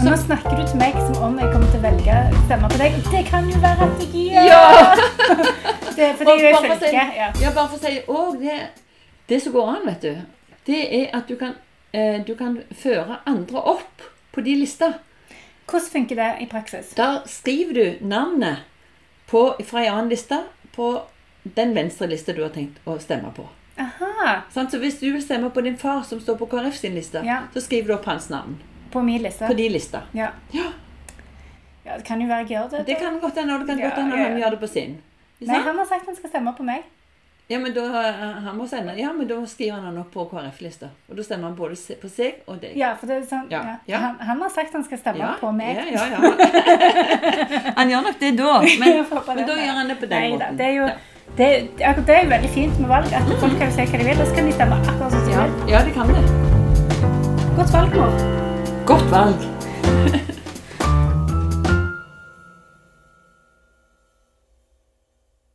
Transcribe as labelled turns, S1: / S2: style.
S1: Og nå snakker du til meg som om jeg kommer til å velge stemme på deg. og Det kan jo være at jeg gjør!
S2: Ja!
S1: Det er fordi
S2: Og
S1: jeg er
S2: bare for å si-
S1: fylke. Ja.
S2: Ja, bare for å si og det, det som går an, vet du, det er at du kan, eh, du kan føre andre opp på de lista.
S1: Hvordan funker det i praksis?
S2: Da skriver du navnet på, fra en annen liste på den venstre lista du har tenkt å stemme på.
S1: Aha,
S2: Sant? Så hvis du vil stemme på din far som står på KrF sin liste,
S1: Ja.
S2: så skriver du opp hans navn
S1: på min liste.
S2: på de lista.
S1: Ja.
S2: Ja.
S1: ja, det kan jo være jeg gjør det.
S2: Det kan godt hende, og det kan
S1: Ja,
S2: godt hende
S1: ja,
S2: han
S1: ja.
S2: gjør det på sin.
S1: Nei,
S2: Sant?
S1: han har sagt han skal stemme på meg.
S2: Ja, men da, eh, han må sende. ja, men da skriver han han opp på KrF-lista. Og da stemmer han både se- på seg og deg.
S1: Ja, for det er sånn,
S2: Ja,
S1: ja.
S2: ja.
S1: Han, han har sagt han skal stemme
S2: Ja,
S1: på meg.
S2: Ja, ja, ja. han gjør nok det da, men,
S1: Jeg håper
S2: men
S1: det.
S2: da gjør han det på den
S1: Nei da,
S2: måten.
S1: det er jo det, akkurat det er jo veldig fint med valg, at folk kan si hva de vil, og så kan de stemme akkurat sånn som de
S2: ja.
S1: vil.
S2: ja, det kan det.
S1: Godt valg, mor.
S2: Godt valg.